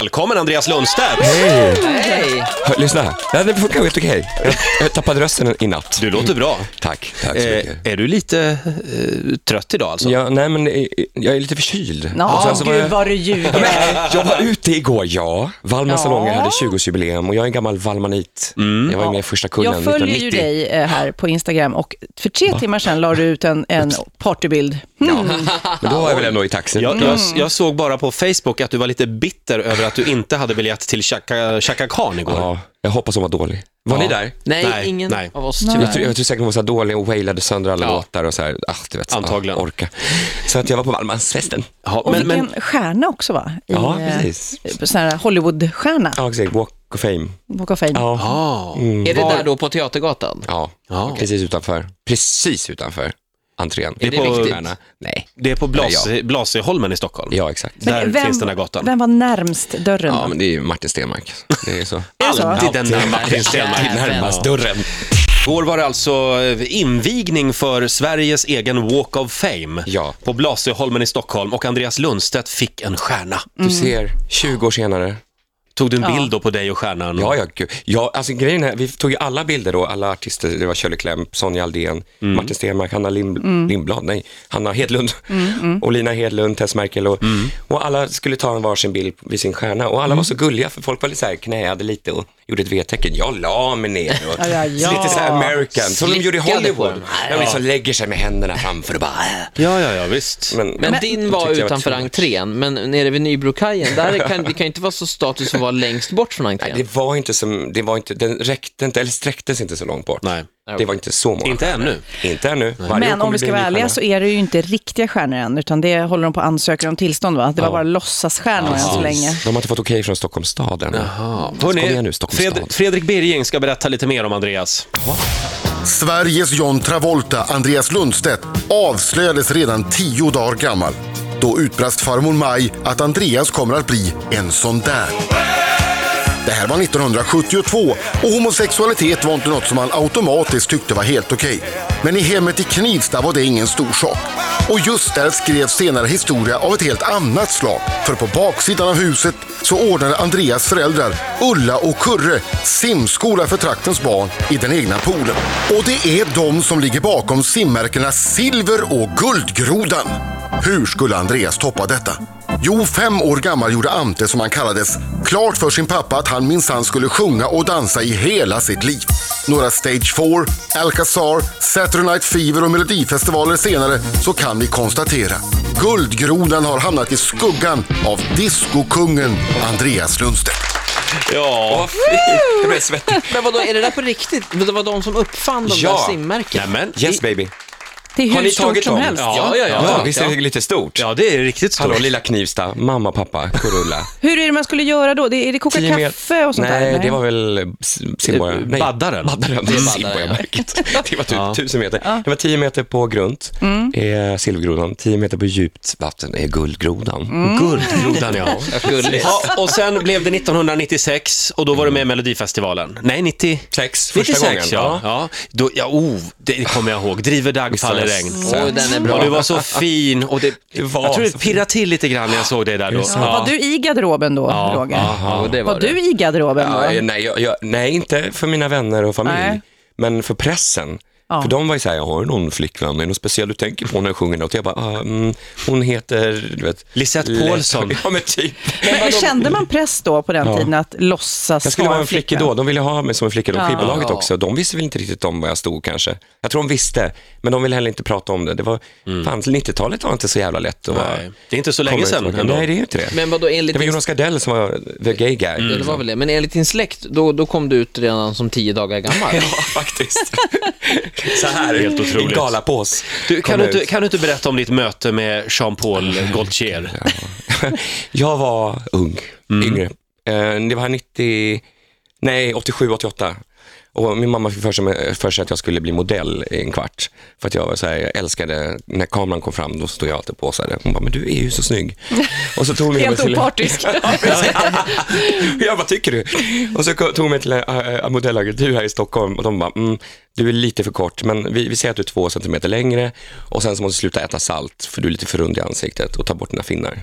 Välkommen Andreas Lundstedt! Hej! Hör, lyssna här. Det här funkar helt okej. Jag, jag tappade rösten i natt. Du låter bra. Tack, tack så Eh, mycket. är du lite eh, trött idag alltså? Ja, nej, men eh, jag är lite förkyld. Nå, Och sen så var gud Alltså, jag- vad du Ja, men, ljuger. jag var ute igår, ja. Valmans Ja. salonger hade 20-årsjubileum och jag är en gammal valmanit. Jag var ju med i första kullen Jag följer ju 1990. dig eh, här på Instagram och för tre timmar sedan la du ut en, en partybild. Mm. Men då var jag väl ändå i taxin. Jag, jag, jag såg bara på Facebook att du var lite bitter över att du inte hade biljett till Chaka, Chaka Khan igår. Ja, jag hoppas hon var dålig. Var ni där? Nej, Nej, ingen nej. av oss Jag tror, tyvärr. jag tror säkert hon var så här dålig och wailade sönder alla Ja. låtar och så här, ah, du vet, så, Antagligen. Ah, orka. Så att jag var på Valmansfesten. Ja, Och men, vilken men, stjärna också va? I, Ja, eh, precis. Sån här Hollywoodstjärna, Ja, exakt. Walk of fame. Walk of Fame. Ja, ah, Är det där då på Teatergatan? ja. Ja. precis utanför. Precis utanför entrén. Är det På viktigt? Stjärna. Nej. det är på Blas, Nej, Blasieholmen i Stockholm. Ja, exakt. Där finns den här gatan. Vem var närmst dörren? Ja, men det är ju Martin Stenmark. Det är så. Är det så? Alltid den där Martin Stenmarck. Alltid närmast dörren. Igår var det alltså eh, invigning för Sveriges egen Walk of Fame Ja. på Blasieholmen i Stockholm och Andreas Lundstedt fick en stjärna. Du ser, 20 år senare. Tog du en bild då på dig och stjärnan? Ja, ja, gud. ja, alltså grejen är, vi tog ju alla bilder då, alla artister, det var Shirley Clamp, Sonja Aldén, Martin Stenmarck, Hanna Lim- Lindblad, nej, Hanna Hedlund, och Lina Hedlund, Tess Merkel och, och alla skulle ta en varsin bild vid sin stjärna och alla var så gulliga för folk var lite så här, knäade lite och gjorde ett V-tecken, jag la mig ner och Ja, ja, ja. lite så här American, som de gjorde i Slickade på Hollywood, dem. när de liksom lägger sig med händerna framför och bara, äh. ja, ja, ja visst. men, Men, din var tyckte jag var utanför too much. entrén, men nere vid Nybrokajen, där kan, det kan ju inte vara så status att vara längst bort från entrén. Det var inte som, det var inte, den räckte inte, eller sträcktes inte så långt bort. Nej. Det var inte så många. Inte ännu. Inte ännu. Varje år Men kommer om det bli vi ska en vara ny ärliga stjärna. så är det ju inte riktiga stjärnor än, utan det håller de på att ansöka om tillstånd va? Det var bara låtsasstjärnor än så länge. De har inte fått okej från Stockholms stad än. Kom igen nu, Stockholms Fred- stad. Fredrik Birging ska berätta lite mer om Andreas. Sveriges John Travolta, Andreas Lundstedt, avslöjades redan tio dagar gammal. Då utbrast farmor Maj att Andreas kommer att bli en sån där. Det här var 1972 och homosexualitet var inte något som man automatiskt tyckte var helt okej. Men i hemmet i Knivsta var det ingen stor sak. Och just där skrevs senare historia av ett helt annat slag. För på baksidan av huset så ordnade Andreas föräldrar Ulla och Kurre simskola för traktens barn i den egna poolen. Och det är de som ligger bakom simmärkena Silver och Guldgrodan. Hur skulle Andreas toppa detta? Jo, fem år gammal gjorde Ante, som han kallades, klart för sin pappa att han minsann skulle sjunga och dansa i hela sitt liv. Några Stage 4, Alcazar, Saturday Night Fever och Melodifestivaler senare så kan vi konstatera Guldgrodan har hamnat i skuggan av diskokungen Andreas Lundstedt. Ja. Åh, fy, Jag blev svettig. Men vadå, är det där på riktigt? Det var de som uppfann de Ja. där simmärkena? Nämen. Yes baby. Det är Har hur ni stort tagit som dem? helst. Ja, ja, ja. Ja, visst är det lite stort? Ja, det är riktigt stort. Hallå lilla Knivsta, mamma, pappa, Kurulla. Hur är det man skulle göra då? Det, är det koka Tio meter- kaffe och sånt där? Nej, det var väl S- Simborga. Nej, Eh, Baddaren. Baddaren. Mm. Det är Baddaren, Simborgaberget. Det var typ tusen meter. Det var tio meter på grunt, Mm. eh, silvergrodan. Tio meter på eh, djupt vatten är guldgrodan. Mm. Guldgrodan, ja. Gulligt. ja. Och sen blev det 1996 och då var du med i Melodifestivalen. Nej, 90... Sex, första 96, gången. ja. ja. Då, ja oh, det kommer jag ihåg. Driver dag, Visst var faller det regn. söt? Oj, den är Och bra. du var så fin och det, Du var jag tror det så fin. pirrade till lite grann när jag såg dig där då. Var du i garderoben då, Roger? Ja, det Var du i garderoben då? Ja, eh, nej, jag, jag, nej, inte för mina vänner och familj, Nej. men för pressen. Ja. För de var ju såhär, jag har du någon flickvän, är det något speciellt du tänker på när du sjunger något? Jag bara, ah, mm, hon heter, du vet. Lisette Lett- Paulsson. Ja men typ. Men kände man press då på den tiden att låtsas Jag skulle vara en flicka flickvän? då, de ville ha mig som en flicka, Ja. de skivbolaget också. De visste väl inte riktigt om var jag stod kanske. Jag tror de visste, men de ville heller inte prata om det. det var, fan, 90-talet var inte så jävla lätt att vara. Mm. Nej, det är inte så länge komma ut sedan och- ändå. Nej, det är ju inte det. Men vadå, enligt det var din... Jonas Gardell som var the gay guy. Mm. Ja, det var väl det. Men enligt din släkt, då, då kom du ut redan som tio dagar gammal. Ja, faktiskt. Så här, Helt otroligt. i galapås. Du, kan, kom du inte, ut. kan du inte berätta om ditt möte med Jean-Paul Gaultier? Jag var Mm. ung, yngre. Eh, Det var 90, nej 87, 88. Och min mamma fick för sig, med- för sig att jag skulle bli modell i en kvart. För att jag var så här, jag älskade, när kameran kom fram, då stod jag alltid på så här. Hon bara, men du är ju så snygg. Och så tog hon med mig Helt till... opartisk. jag bara, tycker du? Och så tog hon mig till en äh, modellagentur här i Stockholm och de bara, mm, du är lite för kort, men vi, vi säger att du är två centimeter längre och sen så måste du sluta äta salt, för du är lite för rund i ansiktet och ta bort dina finnar.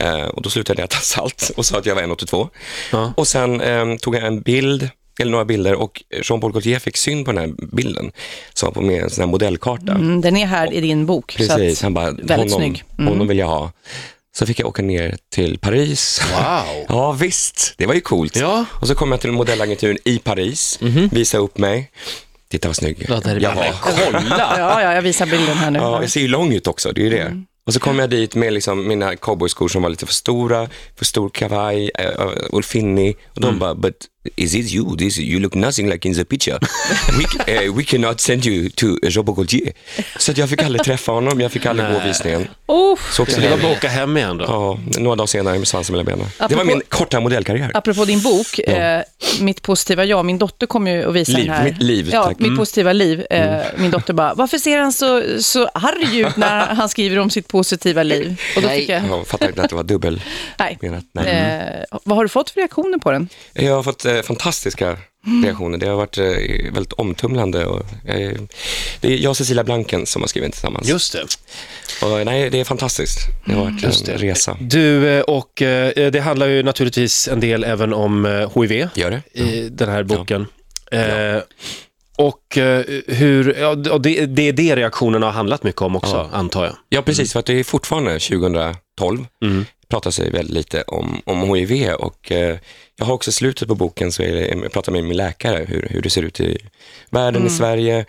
Eh, och då slutade jag äta salt och sa att jag var 1,82. Och sen ehm, tog jag en bild, eller några bilder och Jean-Paul Gaultier fick syn på den här bilden, som var på med en sån här modellkarta. Mm, den är här i din bok. Precis, så att, han bara, väldigt honom, snygg. Mm. honom vill jag ha. Så fick jag åka ner till Paris. Wow. ja, visst. Det var ju coolt. Ja. Mhm. Och så kom jag till modellagenturen i Paris, visade upp mig. Titta vad snygg Ja, där är jag var. bilden. Kolla! Ja, ja, jag visar bilden här nu. Ja, jag ser ju lång ut också, det är ju det. Mm. Och så kom jag dit med liksom mina cowboyskor som var lite för stora, för stor kavaj, eh, eh, urfinnig. Och de Mm. bara, but is it you? This, you look nothing like in the picture. We, c- eh, we cannot send you to Robert Gaultier. Så att jag fick aldrig träffa honom, jag fick aldrig gå visningen. Uff. Så också Så det var bara att åka hem igen då. Ja, några dagar senare med svansen mellan benen. Det var min korta modellkarriär. Apropå din bok, eh, Mitt positiva jag, min dotter kommer ju att visa Liv, den här. mitt liv, ja, tack. Mm. Mitt positiva liv. Eh, Min dotter bara, varför ser han så, så arg ut när han skriver om sitt positiva liv? Och då Nej. fick jag, Jag fattar inte att det var dubbel. nej. menat, nej. Eh, vad har du fått för reaktioner på den? Jag har fått eh, fantastiska reaktioner. Det har varit eh, väldigt omtumlande. Och, eh, det är jag och Cecilia Blanken som har skrivit tillsammans. Just det. Och, eh, nej, det är fantastiskt. Det har varit en resa. Du, eh, och eh, det handlar ju naturligtvis en del även om eh, HIV Gör det? i den här boken. Eh, Och eh, hur, ja, d- och det, det är det reaktionen har handlat mycket om också, antar jag. Ja, precis. För att det är fortfarande 2012. Mm. pratar sig väldigt lite om, om HIV och eh, jag har också i slutet på boken så är det, jag pratar med min läkare hur, hur det ser ut i världen, Mm. i Sverige,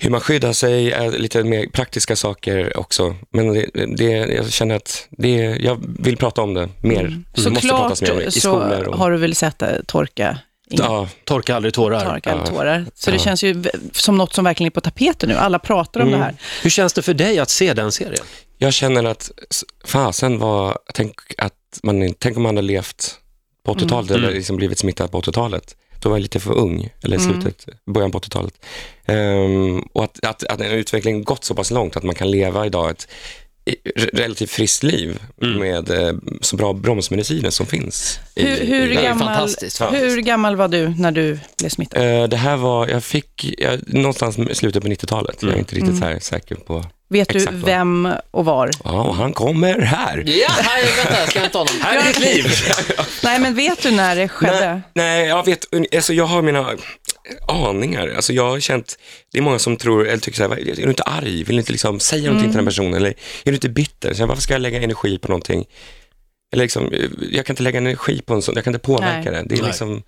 hur man skyddar sig, eh, lite mer praktiska saker också. Men det, det, jag känner att det, jag vill prata om det mer. Det måste Mm. Såklart pratas mer om det i så skolor. Och, har du väl sett det torka inga ja, Torka aldrig tårar. torkade Ja. tårar. Så det känns ju v- som något som verkligen är på tapeten nu. Alla pratar om Mm. det här. Hur känns det för dig att se den serien? jag känner att s- fasen var, tänk, att man, tänk om man hade levt Mm. på 80-talet eller liksom blivit smittad på 80-talet. Då var jag lite för ung, eller i Mm. slutet, början på 80-talet. Ehm, och att, att, att en utveckling gått så pass långt att man kan leva idag ett i- re- relativt friskt liv med eh, så bra bromsmediciner som finns. i- Hur, hur, i världen. gammal, fantastiskt, hur fantastiskt. gammal var du när du blev smittad? Eh, det här var, jag fick, jag, någonstans i slutet på 90-talet, Mm. jag är inte riktigt så här säker på. Vet du exakt vad. vem och var? Ja, och han kommer här. Ja, här, vänta, ska jag inte ha honom? Här är ditt liv! Nej, men vet du när det skedde? Nej, jag vet, alltså jag har mina aningar. Alltså jag har känt, det är många som tror, eller tycker så här, "Vad- är du inte arg? Vill du inte liksom säga någonting till den Mm. personen? Eller är du inte bitter? Så jag, varför ska jag lägga energi på någonting? Eller liksom, eh, jag kan inte lägga energi på en sån, jag kan inte påverka Nej. det. Det är Nej. liksom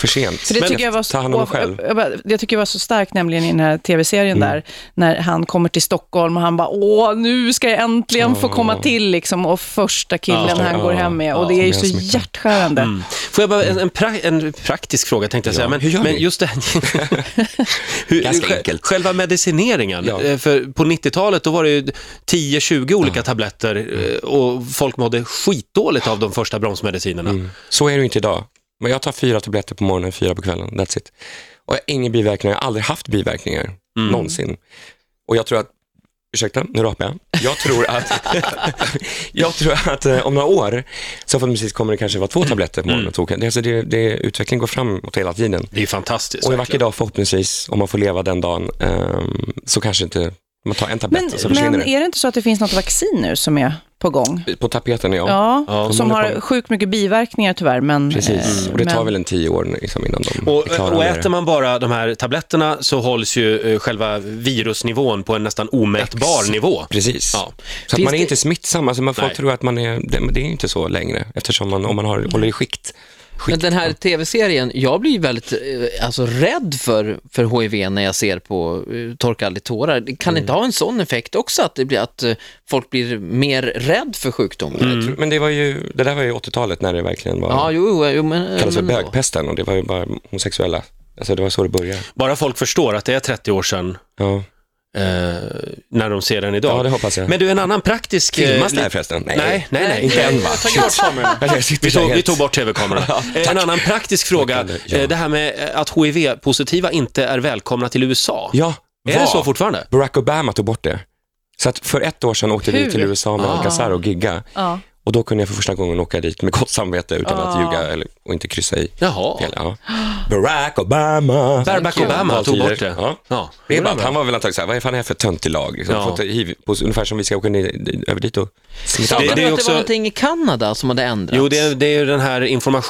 för sent. För det tycker jag, var Ta hand om dig så, själv. Mm. jag bara- jag tycker det var så starkt nämligen i den här tv-serien där, när han kommer till Stockholm och han bara, åh, nu ska jag äntligen få Ah. komma till liksom, och första killen Ja. han går hem med. Ja, Och det är ju som så jag smittar. Mm. hjärtskärande. Får jag bara, en, en, pra, en praktisk fråga tänkte jag säga, men, hur gör men ni? just det här, hur, Ganska sj- enkelt. Själva medicineringen, Ja. eh, för på 90-talet då var det ju 10-20 olika tabletter eh, och folk mådde skitdåligt av de första bromsmedicinerna. Mm. Så är det ju inte idag. Men jag tar fyra tabletter på morgonen, fyra på kvällen. That's it. Och jag har inga biverkningar, jag har aldrig haft biverkningar. Mm. Någonsin. Och jag tror att, ursäkta, nu rapar jag. Jag tror att, jag tror att eh, om några år så förhoppningsvis kommer det kanske vara två tabletter på Mm. morgonen och två. Det, alltså det, det, utvecklingen går framåt hela tiden. Det är ju fantastiskt. Och en vacker verkligen. dag förhoppningsvis, om man får leva den dagen, ehm, så kanske inte man tar en tablett Men, och så försvinner men är det inte så att det finns något vaccin nu som är på gång? det. På tapeten, ja. Ja, Ja, som de har håller på. sjukt mycket biverkningar tyvärr. Men, Precis. eh, Och det tar men- väl en tio år liksom, innan de är klara Och, eh, och med det. äter man bara de här tabletterna så hålls ju eh, själva virusnivån på en nästan omätbar Ex- nivå. Precis. Ja. Så att Finns man är det- inte smittsam. Alltså man får Nej. tro att man är, det, men det är ju inte så längre eftersom man, om man har, håller i skikt. Men skikt. den här tv-serien, jag blir ju väldigt eh, alltså, rädd för, för HIV när jag ser på eh, Torka aldrig tårar. Det Kan inte ha en sån effekt också, att, det blir, att eh, folk blir mer rädd för sjukdomen? Men det, var ju, det där var ju 80-talet när det verkligen var, Ja, jo, jo, jo men... kallades för men ändå. bögpesten och det var ju bara homosexuella. Alltså det var så det började. Bara folk förstår att det är 30 år sedan Ja. eh, när de ser den idag. Ja, det hoppas jag. Men du, en annan praktisk... eh, Filmas det här li- förresten? Nej, nej, nej. Inte än va? Alltså, Ta bort kameran. Jag sitter Vi tog, helt- vi tog bort tv-kamerorna. Eh, en annan praktisk fråga, Tackande, ja. eh, det här med eh, att HIV-positiva inte är välkomna till USA. Ja, Är va? det så fortfarande? Barack Obama tog bort det. Så att för ett år sedan åkte vi Hur? till USA med Alcazar och gigga. Ja. Och då kunde jag för första gången åka dit med gott samvete utan att ljuga eller, och inte kryssa i. Jaha. fel. Ja. Barack Obama. Barack Thank you. Obama tog bort det. Ja. Ja. Det är bara, att han var väl antagligen såhär, vad är fan det här för töntig lag? Liksom, Ja. Fått hiv på, ungefär som vi ska åka ner, över dit och smitta Det- andra. det Jag tror är att det också- var någonting i Kanada som hade ändrats. Jo, det är, det är ju den här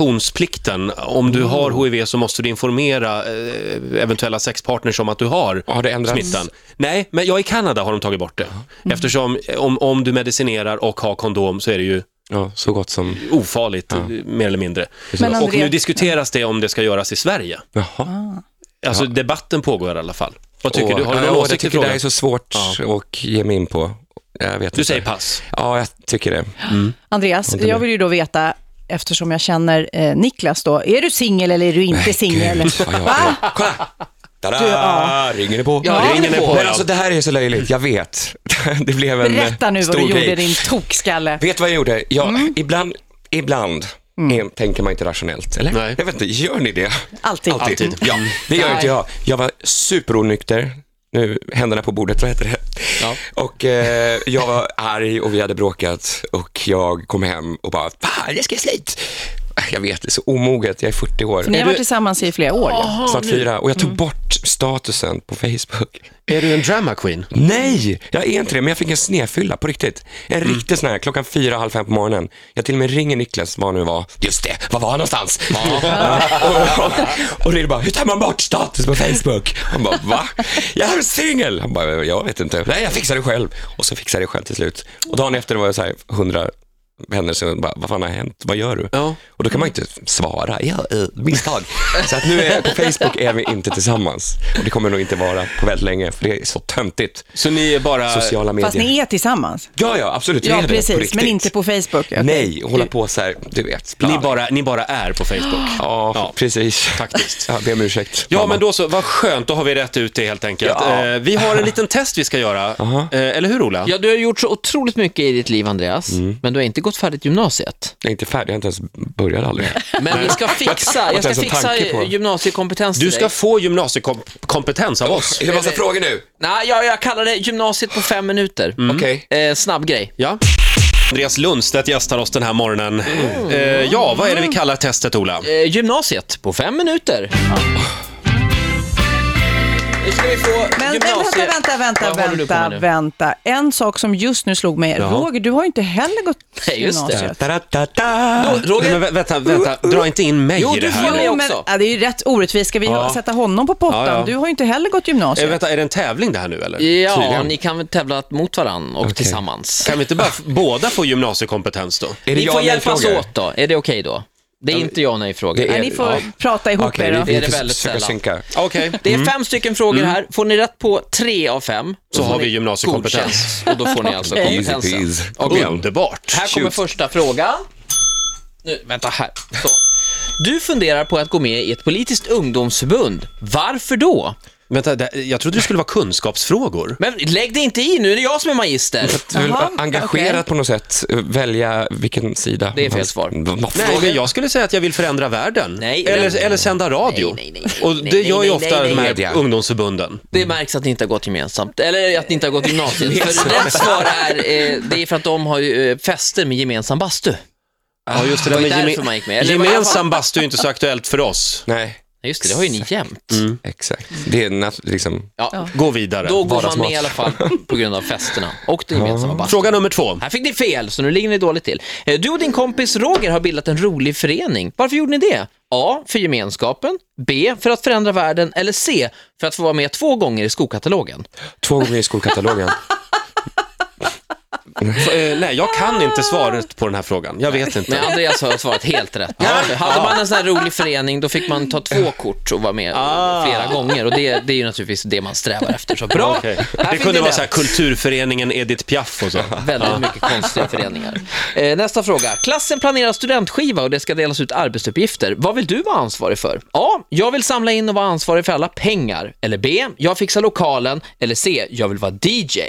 informationsplikten. Om du Mm. har HIV så måste du informera eh, eventuella sexpartners om att du har Har det ändrats? smittan. Nej, men ja, i Kanada har de tagit bort det. Eftersom eh, om, om du medicinerar och har kondom så är det ju Ja, så gott som... ofarligt, eh, mer eller mindre. Men och Andrea- nu diskuteras det om det ska göras i Sverige. Jaha. Alltså debatten pågår i alla fall. Vad tycker Åh, du? Har du ja, någon jag åsikt i tycker det frågan? här är så svårt att ge mig in på. Jag vet Du inte. säger pass. Ja, jag tycker det. Andreas, jag vill ju då veta, eftersom jag känner eh, Niklas då, är du singel eller är du inte singel? Gud, vad jag är. Kolla! Tada! Du, ja. Ringer det på? Ja, ringer det på. Men alltså det här är så löjligt, jag vet. Det blev en Berätta nu eh, vad stor du grej. gjorde, din tokskalle. Vet du vad jag gjorde? Jag, Mm. Ibland, ibland eh, tänker man inte rationellt, eller? Nej. Jag vet inte, gör ni det? Alltid. Alltid. Mm. Ja, det gör Nej. inte jag. Jag var superonykter. Nu, händerna på bordet, vad heter det? Och eh, jag var arg och vi hade bråkat och jag kom hem och bara, fan, jag ska slut. Jag vet, det är så omoget, jag är 40 år. Ni har varit tillsammans i flera år. Ja. Mm. Snart fyra. Och jag tog bort statusen på Facebook. Är du en drama queen? Nej, jag är inte det, men jag fick en snefylla på riktigt. En riktig sån här, klockan fyra, halv fem på morgonen. Jag till och med ringer Niklas, var han nu var. Just det, var var han någonstans? Ja. och, och, och ringer bara, hur tar man bort status på Facebook? Han bara, va? Jag är singel! Han bara, jag vet inte. Nej, jag fixar det själv. Och så fixade jag det själv till slut. Och dagen efter var jag så här, hundra vänner som bara, vad fan har hänt? Vad gör du? Ja. Och då kan man ju inte svara, ja, eh, misstag. Så att nu är, på Facebook är vi inte tillsammans. Och det kommer nog inte vara på väldigt länge, för det är så töntigt. Så ni är bara... Sociala medier. Fast ni är tillsammans. Ja, ja, absolut. vi Ja, är det på precis, riktigt. men inte på Facebook. Okej. Nej, och hålla på så här, du vet. Ni bara, ni bara är på Facebook. Ja, Ja. precis. Faktiskt. Ja, be om ursäkt. Ja, mamma. men då så. Vad skönt, då har vi rätt ut det helt enkelt. Ja. Eh, vi har en liten test vi ska göra. Eh, eller hur, Ola? Ja, du har gjort så otroligt mycket i ditt liv, Andreas, men du har inte gått färdigt gymnasiet. Jag är inte färdig, jag har inte ens börjat aldrig. Men vi ska fixa, Vad jag ska ens en fixa tanke på. gymnasiekompetens Du till ska dig. få gymnasiekompetens av oss. Är det massa frågor nu? Nej, jag, jag kallar det gymnasiet på fem minuter. Okej. Eh, snabb grej. Ja. Andreas Lundstedt gästar oss den här morgonen. Mm. Eh, ja, vad är det vi kallar testet, Ola? Eh, gymnasiet på fem minuter. Nu ska vi få Men gymnasie... vänta, vänta, Vad håller vänta, du på med vänta, nu? vänta. En sak som just nu slog mig, Roger, du har ju inte heller gått Nej, just det. gymnasiet. Ta-da-da-da. Nej, Roger, men vä- vänta, vänta. Dra inte in mig Jo, i det du här. nu. får- Jag Jo, men, också. ja, det är ju rätt orättvist. Ska vi Ja. sätta honom på pottan? Ja, ja. Du har ju inte heller gått Eh, gymnasiet. vänta, är det en tävling det här nu, eller? Typ, Ja, Tydligen. ni kan väl tävla mot varandra och tillsammans. Kan vi inte bara f- båda få gymnasiekompetens då? Är det Ni ja får eller hjälpas frågor? åt då, är det okej då? Det är inte ja och nej-frågor. Det är- Nej, ni får ja. prata ihop Okej, er vi- då. vi Det är det försöker väldigt sällan. synka. Okej. Det Mm. är fem stycken frågor här. Får ni rätt på tre av fem Så har får vi ni gymnasiekompetens. godkänt. Och då får ni alltså Okej. kompetensen. Easy peasy. Och guld. Underbart. Här kommer första frågan. Nu, vänta här. Så. Du funderar på att gå med i ett politiskt ungdomsförbund. Varför då? Vänta, det, jag trodde det skulle vara kunskapsfrågor. Men lägg det inte i nu, det är jag som är magister. Du vill Jaha, engagerat okej. på något sätt, eh, välja vilken sida. Det är fel man- svar. Vad- vad- Nej, men jag skulle säga att jag vill förändra världen. Nej, eller, nej. eller sända radio. Nej, nej, nej, Och nej, det nej, gör ju nej, ofta nej, de här media. ungdomsförbunden. Det märks att ni inte har gått gemensamt, eller att ni inte har gått gymnasiet. För rätt svar är, eh, det är för att de har ju eh, fester med gemensam bastu. Ja, just det. Ah, var men ju därför geme- man gick med. Eller det var i alla Gemensam bastu är inte så aktuellt för oss. Nej, Ja, Just det, det har ju ni jämt. Mm. exakt. Det är nat- liksom... Ja, Gå vidare. då går man Vardagsmat. med i alla fall på grund av festerna och den gemensamma bastun. Fråga nummer två. Här fick ni fel, så nu ligger ni dåligt till. Eh, Du och din kompis Roger har bildat en rolig förening. Varför gjorde ni det? A. För gemenskapen. B. För att förändra världen. Eller C. För att få vara med två gånger i skokatalogen. Två gånger i skolkatalogen. Eh, nej, jag kan inte svaret på den här frågan. Jag vet inte. Men Andreas har svarat helt rätt. Hade man en sån här rolig förening, då fick man ta två kort och vara med Ah. flera gånger. Och det, det är ju naturligtvis det man strävar efter. Så bra! Okej. Här Det fick kunde ni vara det. så här, kulturföreningen Edith Piaf och så. Väldigt mycket konstiga föreningar. Eh, nästa fråga. Klassen planerar studentskiva och det ska delas ut arbetsuppgifter. Vad vill du vara ansvarig för? A. Jag vill samla in och vara ansvarig för alla pengar. Eller B. Jag fixar lokalen. Eller C. Jag vill vara DJ.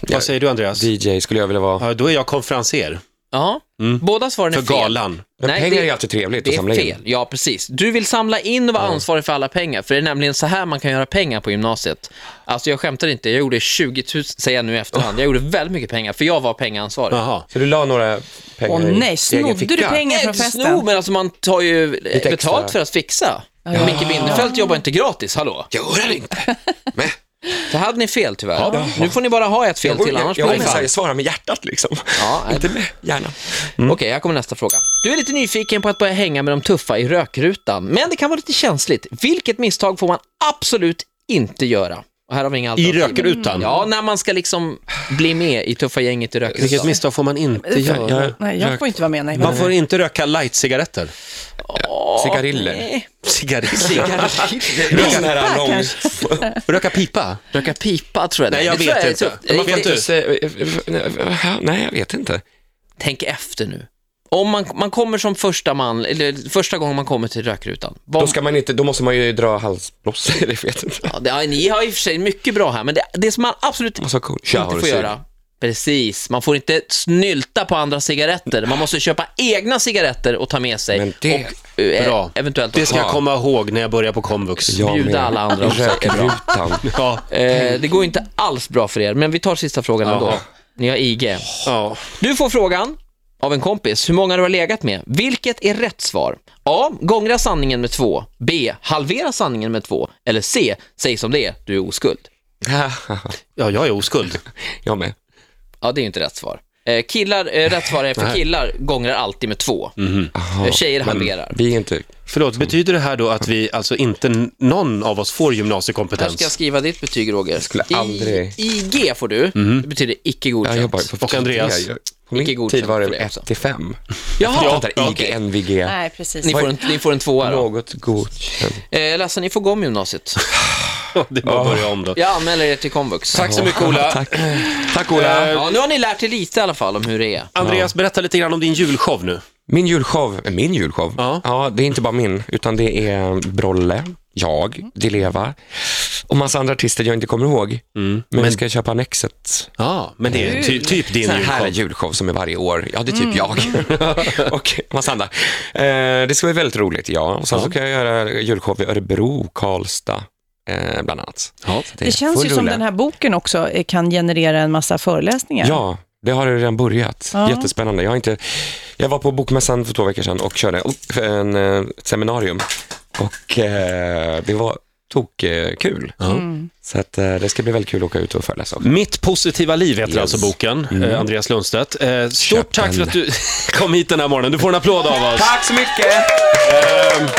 Vad säger du, Andreas? DJ skulle jag vilja vara. Ja, då är jag konferenser Ja, båda svaren är Mm. för fel. galan. Men Nej, pengar det- är ju alltid trevligt Det att samla är in. fel, ja precis. Du vill samla in och vara ansvarig för alla pengar, för det är nämligen så här man kan göra pengar på gymnasiet. Alltså jag skämtar inte, jag gjorde 20 000, säger jag nu i efterhand, jag gjorde väldigt mycket pengar, för jag var pengansvarig. Jaha. Så du la några pengar Åh i nej, egen snodde du ficka? pengar från Nej, festen? sno, men alltså man tar ju extra. betalt för att fixa. Micke Bindefeld jobbar inte gratis, hallå? Gör han inte? Men, Så här hade ni fel tyvärr. Nu får ni bara ha ett fel jag till, jag, annars jag, blir det jag, fan. jag svara med hjärtat liksom. Ja, nej. inte med hjärnan. Mm. Okej, här kommer nästa fråga. Du är lite nyfiken på att börja hänga med de tuffa i rökrutan, men det kan vara lite känsligt. Vilket misstag får man absolut inte göra? Och här har vi inga I alternativ. rökrutan? Ja, när man ska liksom bli med i tuffa gänget i rökrutan. Vilket misstag får man inte göra? Jag, Nej, jag får inte vara med. Nej. Man får inte röka light-cigaretter. cigariller. Nej. Cigaretter? Någon sån Pipa, här lång... kanske. Röka pipa? Röka pipa tror jag det är. Nej, jag Det tror vet är inte. tufft. Man vet inte. eh, Nej, jag vet inte. Tänk efter nu. Om man, man kommer som första man, eller första gången man kommer till rökrutan. Vad- Då, ska man inte, då måste man ju dra halsbloss, jag vet inte. ja, det, ja, ni har i och för sig mycket bra här, men det, det som man absolut Måste vara cool. inte får göra. Precis, man får inte snylta på andra cigaretter. Man måste köpa egna cigaretter och ta med sig. Men det- och, eh, Bra. Eventuelt Det ska jag också komma ihåg när jag börjar på komvux. Jag bjuda med. alla andra också. Det är bra. Rökrutan. Ja. Eh, det går inte alls bra för er, men vi tar sista frågan ändå. Ni har IG. ja. Du får frågan av en kompis hur många du har legat med. Vilket är rätt svar? A. Gångra sanningen med två. B. Halvera sanningen med två. Eller C. Säg som det är, du är oskuld. Ja, jag är oskuld. jag med. Ja, det är ju inte rätt svar. Eh, killar, eh, rätt svar är för killar gångrar alltid med två. Mhm. Eh, Tjejer halverar. Vi är inte... Förlåt, betyder det här då att vi alltså inte n- någon av oss får Här ska jag gymnasiekompetens? skriva ditt betyg, Roger. Jag skulle aldrig- Mhm. IG får du. Det betyder icke Ja, godkänt. jag bara, Och Andreas. E. Jag- På Icke min godkänt tid var för det det också. 1 till 5. Jaha, Jag fattar ja, IG, okej. NVG. Nej, precis. Ni får, en, ni får en tvåa då. Något godkänt. Eh, ledsen, ni får gå om gymnasiet. Det är bara att börja om då. Jag anmäler er till komvux. Tack så mycket Ola. Tack. Tack Ola. Eh, Ja, nu har ni lärt er lite i alla fall om hur det är. Andreas, berätta lite grann om din julshow nu. Min julshow, eh, min julshow? Ja. det är inte bara min, utan det är Brolle, jag, Di Leva och massa andra artister jag inte kommer ihåg. Men vi ska köpa Annexet. Ja, men det är ty- typ din Så här julshow. julshow som är varje år. Ja, det är typ jag. och massa andra. Eh, det ska bli väldigt roligt, ja. Och sen så kan jag göra julshow i Örebro, Karlstad, eh, bland annat. Ja. Så är Det känns full ju som rulle. den här boken också eh, kan generera en massa föreläsningar. Ja, det har redan börjat. Ja. Jättespännande. Jag, har inte, jag var på Bokmässan för två veckor sedan och körde upp en, eh, ett seminarium. Och eh, det var tok, eh, kul. Mm. Så att, eh, det ska bli väldigt kul att åka ut och föreläsa. också. Mitt positiva liv heter Yes. alltså boken, eh, Andreas Lundstedt. Eh, stort Köp tack för den. att du kom hit den här morgonen. Du får en applåd av oss. Tack så mycket!